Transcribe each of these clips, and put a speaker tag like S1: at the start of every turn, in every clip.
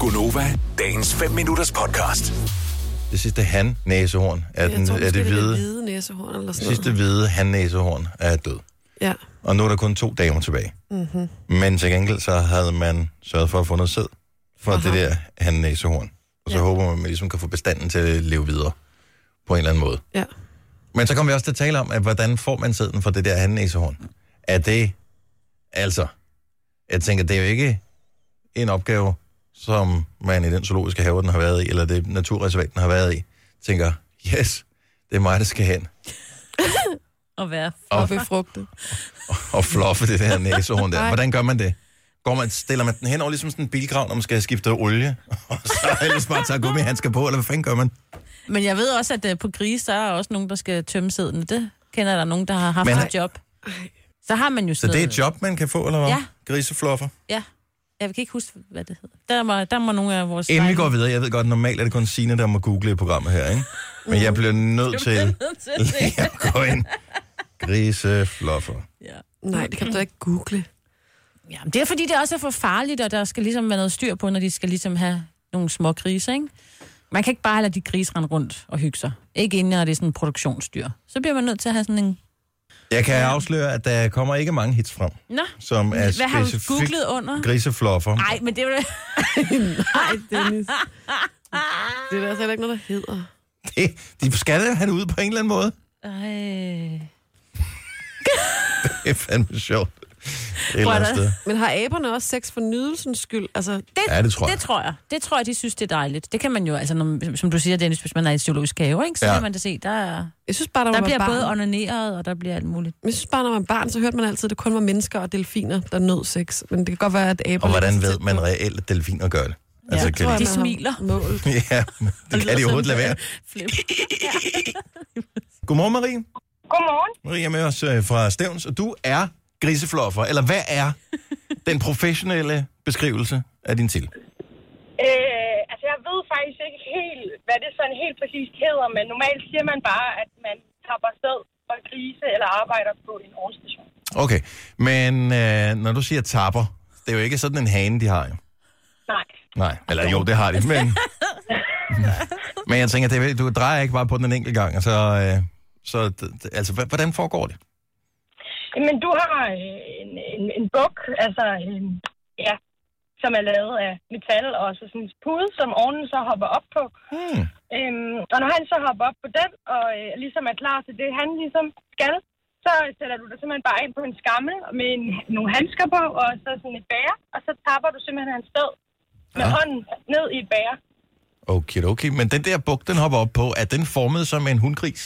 S1: Gunova, dagens 5 minutters podcast.
S2: Det sidste han næsehorn er, den,
S3: Jeg tror,
S2: er det hvide.
S3: Det hvide næsehorn eller sådan
S2: sidste hvide han næsehorn er død.
S3: noget. Ja.
S2: Og nu er der kun to damer tilbage.
S3: Mm-hmm.
S2: Men til gengæld så havde man sørget for at få noget sæd fra
S3: Aha.
S2: det der han næsehorn. Og så
S3: Ja.
S2: håber man, at man ligesom kan få bestanden til at leve videre på en eller anden måde.
S3: Ja.
S2: Men så kommer vi også til at tale om, at hvordan får man sæden fra det der han næsehorn? Er det, altså, jeg tænker, det er jo ikke en opgave, som man i den zoologiske have, den har været i, eller det naturreservat, den har været i, tænker, yes, det er mig, der skal hen.
S4: at være.
S3: Og befrugtet.
S2: og fluffe det der næsehorn der.
S3: Nej.
S2: Hvordan gør man det? Går man, stiller man den hen over ligesom sådan en bilgrav, når man skal have skiftet olie? Og så ellers bare tager gummihandsker på, eller hvad fanden gør man?
S4: Men jeg ved også, at øh, på grise, der er også nogen, der skal tømme sæden. Det kender der nogen, der har haft
S2: Men-
S4: et job. Så har man jo
S2: Så det er
S4: sæden.
S2: et job, man kan få, eller hvad?
S4: Ja.
S2: Grisefluffer.
S4: Ja. Jeg kan ikke huske, hvad det hedder. Der må, der må nogle af vores...
S2: Inden vi
S4: drenge-
S2: går videre, jeg ved godt, normalt er det kun Signe, der må google i programmet her, ikke? Men jeg bliver nødt til lige at gå ind. Grisefluffer.
S4: Ja.
S3: Nej, det kan du da ikke google.
S4: Ja, men det er fordi, det også er for farligt, og der skal ligesom være noget styr på, når de skal ligesom have nogle små grise, ikke? Man kan ikke bare lade de grise rende rundt og hygge sig. Ikke inden, når det er sådan en produktionsdyr. Så bliver man nødt til at have sådan en...
S2: Jeg kan afsløre, at der kommer ikke mange hits frem,
S4: Nå,
S2: som er
S4: hvad har du
S2: specifikt
S4: googlet under?
S2: grisefluffer.
S4: Nej, men det er jo...
S3: Nej, Dennis. Det er der altså heller ikke noget, der hedder.
S2: Det- De skal da have det ud på en eller anden måde.
S4: Ej.
S2: Det er fandme sjovt. Et eller
S4: Prøv
S2: andet
S4: at-
S2: sted.
S3: Men har aberne også sex for nydelsens skyld? Altså,
S4: Det,
S2: Ja, det tror jeg.
S4: Det tror jeg. Det tror jeg, de synes, det er dejligt. Det kan man jo, altså, når, som du siger, Dennis, hvis man er i en zoologisk have, ikke, så
S2: Ja.
S4: ja. kan man da se, der, er-
S3: jeg synes bare, der,
S4: der
S3: var
S4: bliver
S3: barn.
S4: både onaneret, og der bliver alt muligt.
S3: Men jeg synes bare, når man var barn, så hørte man altid, at det kun var mennesker og delfiner, der nød sex. Men det kan godt være, at aber...
S2: Og hvordan ved man reelt, at delfiner gør det? Altså,
S4: Ja,
S2: kan
S4: tror
S2: de...
S4: jeg. smiler.
S3: Mål.
S2: ja, det kan de overhovedet lade være.
S4: Flip.
S2: Godmorgen, Marie.
S5: Godmorgen.
S2: Marie er med os øh, fra Stævns, og du er grisefluffer. Eller hvad er den professionelle beskrivelse af din til?
S5: Øh, altså, jeg ved faktisk ikke helt, hvad det sådan helt præcist hedder, men normalt siger man bare, at man tapper sted og grise eller arbejder på en ovnstation.
S2: Okay, men øh, når du siger tapper, det er jo ikke sådan en hane, de har jo.
S5: Nej.
S2: Nej, eller jo, det har de, men... men jeg tænker, det, er vel- du drejer ikke bare på den en enkelt gang, og så... Øh, så d- d- altså, hva- hvordan foregår det?
S5: Men du har øh, en, en, en buk, altså en, ja, som er lavet af metal og så sådan en pude, som ovnen så hopper op på.
S2: Hmm.
S5: Øhm, og når han så hopper op på den, og øh, ligesom er klar til det, han ligesom skal, så sætter du dig simpelthen bare ind på en skammel med en, nogle handsker på, og så sådan et bære, og så tapper du simpelthen hans sted med
S2: Ja.
S5: ja. hånden ned i et bære.
S2: Okay, okay. Men den der buk, den hopper op på, er den formet som en hundgris?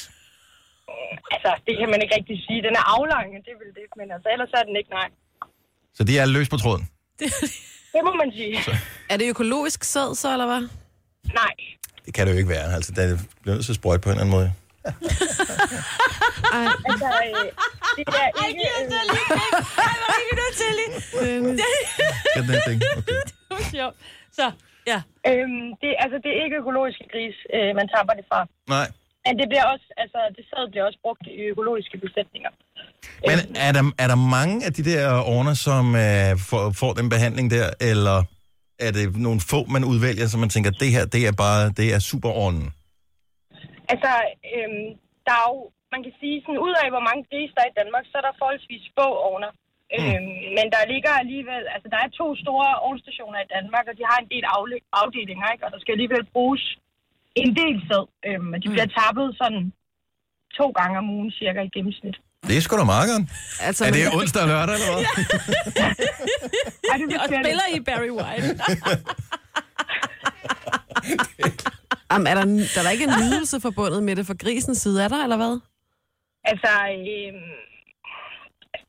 S5: Altså, det kan man ikke rigtig sige. Den er aflang, og det vil det, men altså, ellers er den ikke, nej.
S2: Så de er løs på tråden.
S5: Det må man sige.
S3: Er det økologisk sæd så, eller hvad?
S5: Nej.
S2: Det kan det jo ikke være. Altså, der bliver nødt til at sprøjte på en eller anden måde.
S3: Ej,
S5: Altså, øh, det er ikke... Øh,
S3: Dennis.
S2: Skal den her ting? Okay.
S4: Så, ja.
S5: øhm, det, altså, det er ikke økologiske gris, øh, man tapper det fra.
S2: Nej.
S5: Men det bliver også, altså, det sæd bliver også brugt i økologiske besætninger.
S2: Men er der, er der mange af de der ordner, som øh, får, får den behandling der, eller er det nogle få, man udvælger, som man tænker, det her, det er bare, det er superordnen?
S5: Altså, øhm, der er jo, man kan sige, sådan, ud af hvor mange grise der er i Danmark, så er der forholdsvis få ovner.
S4: Mm.
S5: Øhm, men der ligger alligevel, altså der er to store ovnstationer i Danmark, og de har en del afle- afdelinger, ikke? og der skal alligevel bruges en del sæd. Øhm, og de bliver
S4: Mm.
S5: tappet sådan to gange om ugen cirka i gennemsnit.
S2: Det er sgu da markeren.
S3: Altså,
S2: Er
S3: man-
S2: det onsdag og lørdag, eller hvad?
S5: Ej, det
S4: Og spiller i Barry White.
S3: Jamen, er der, der er der ikke en nydelse forbundet med det fra grisens side, er der, eller hvad?
S5: Altså, øhm,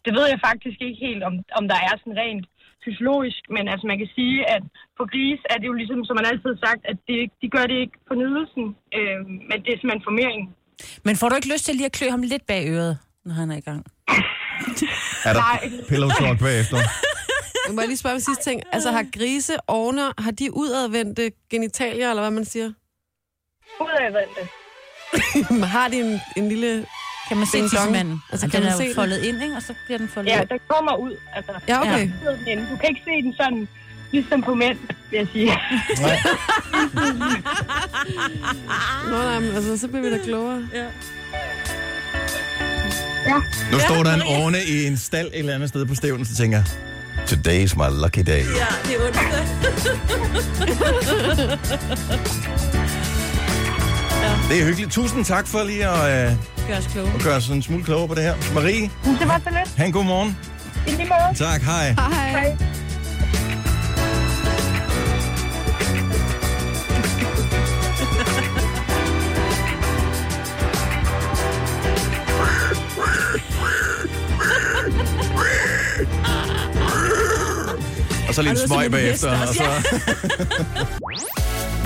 S5: det ved jeg faktisk ikke helt, om, om der er sådan rent fysiologisk, men altså man kan sige, at på gris er det jo ligesom, som man altid har sagt, at det, ikke- de gør det ikke på nydelsen, øhm, men det er simpelthen formering.
S4: Men får du ikke lyst til lige at klø ham lidt bag øret, når han er i gang?
S2: Er der
S5: Nej.
S2: pillow talk bagefter?
S3: Jeg må jeg lige spørge om en sidste ting. Altså, har grise, ovner, har de udadvendte genitalier, eller hvad man siger?
S5: Udadvendte.
S3: har de en, en lille...
S4: Kan man se
S3: Ding dong.
S4: tissemanden?
S3: Altså,
S4: Altså,
S3: kan
S4: den
S3: man
S4: er
S3: se
S4: jo
S3: det?
S4: foldet ind, ikke? Og så bliver den foldet
S5: Ja,
S4: ud.
S5: der kommer ud. Altså,
S3: Ja, okay.
S5: der sidder den inde. Du kan ikke se den sådan Ligesom på mænd, vil jeg sige.
S2: Nej.
S3: Nå, nej, men altså, så bliver vi da klogere.
S5: Ja.
S2: Nu står der en orne i en stald et eller andet sted på stævnen, så tænker jeg, Today's my lucky day.
S4: Ja, det er ondt.
S2: Det er hyggeligt. Tusind tak for lige at øh,
S4: Gør os kloge.
S2: gøre os en smule klogere på det her. Marie,
S5: Mm, Det var så lidt.
S2: han god morgen.
S5: I lige måde.
S2: Tak, hej.
S3: Hej.
S2: Og så lige en
S4: Og det var altså.
S2: smøg
S4: sådan en hest
S2: bagefter. Og
S4: også,
S2: så...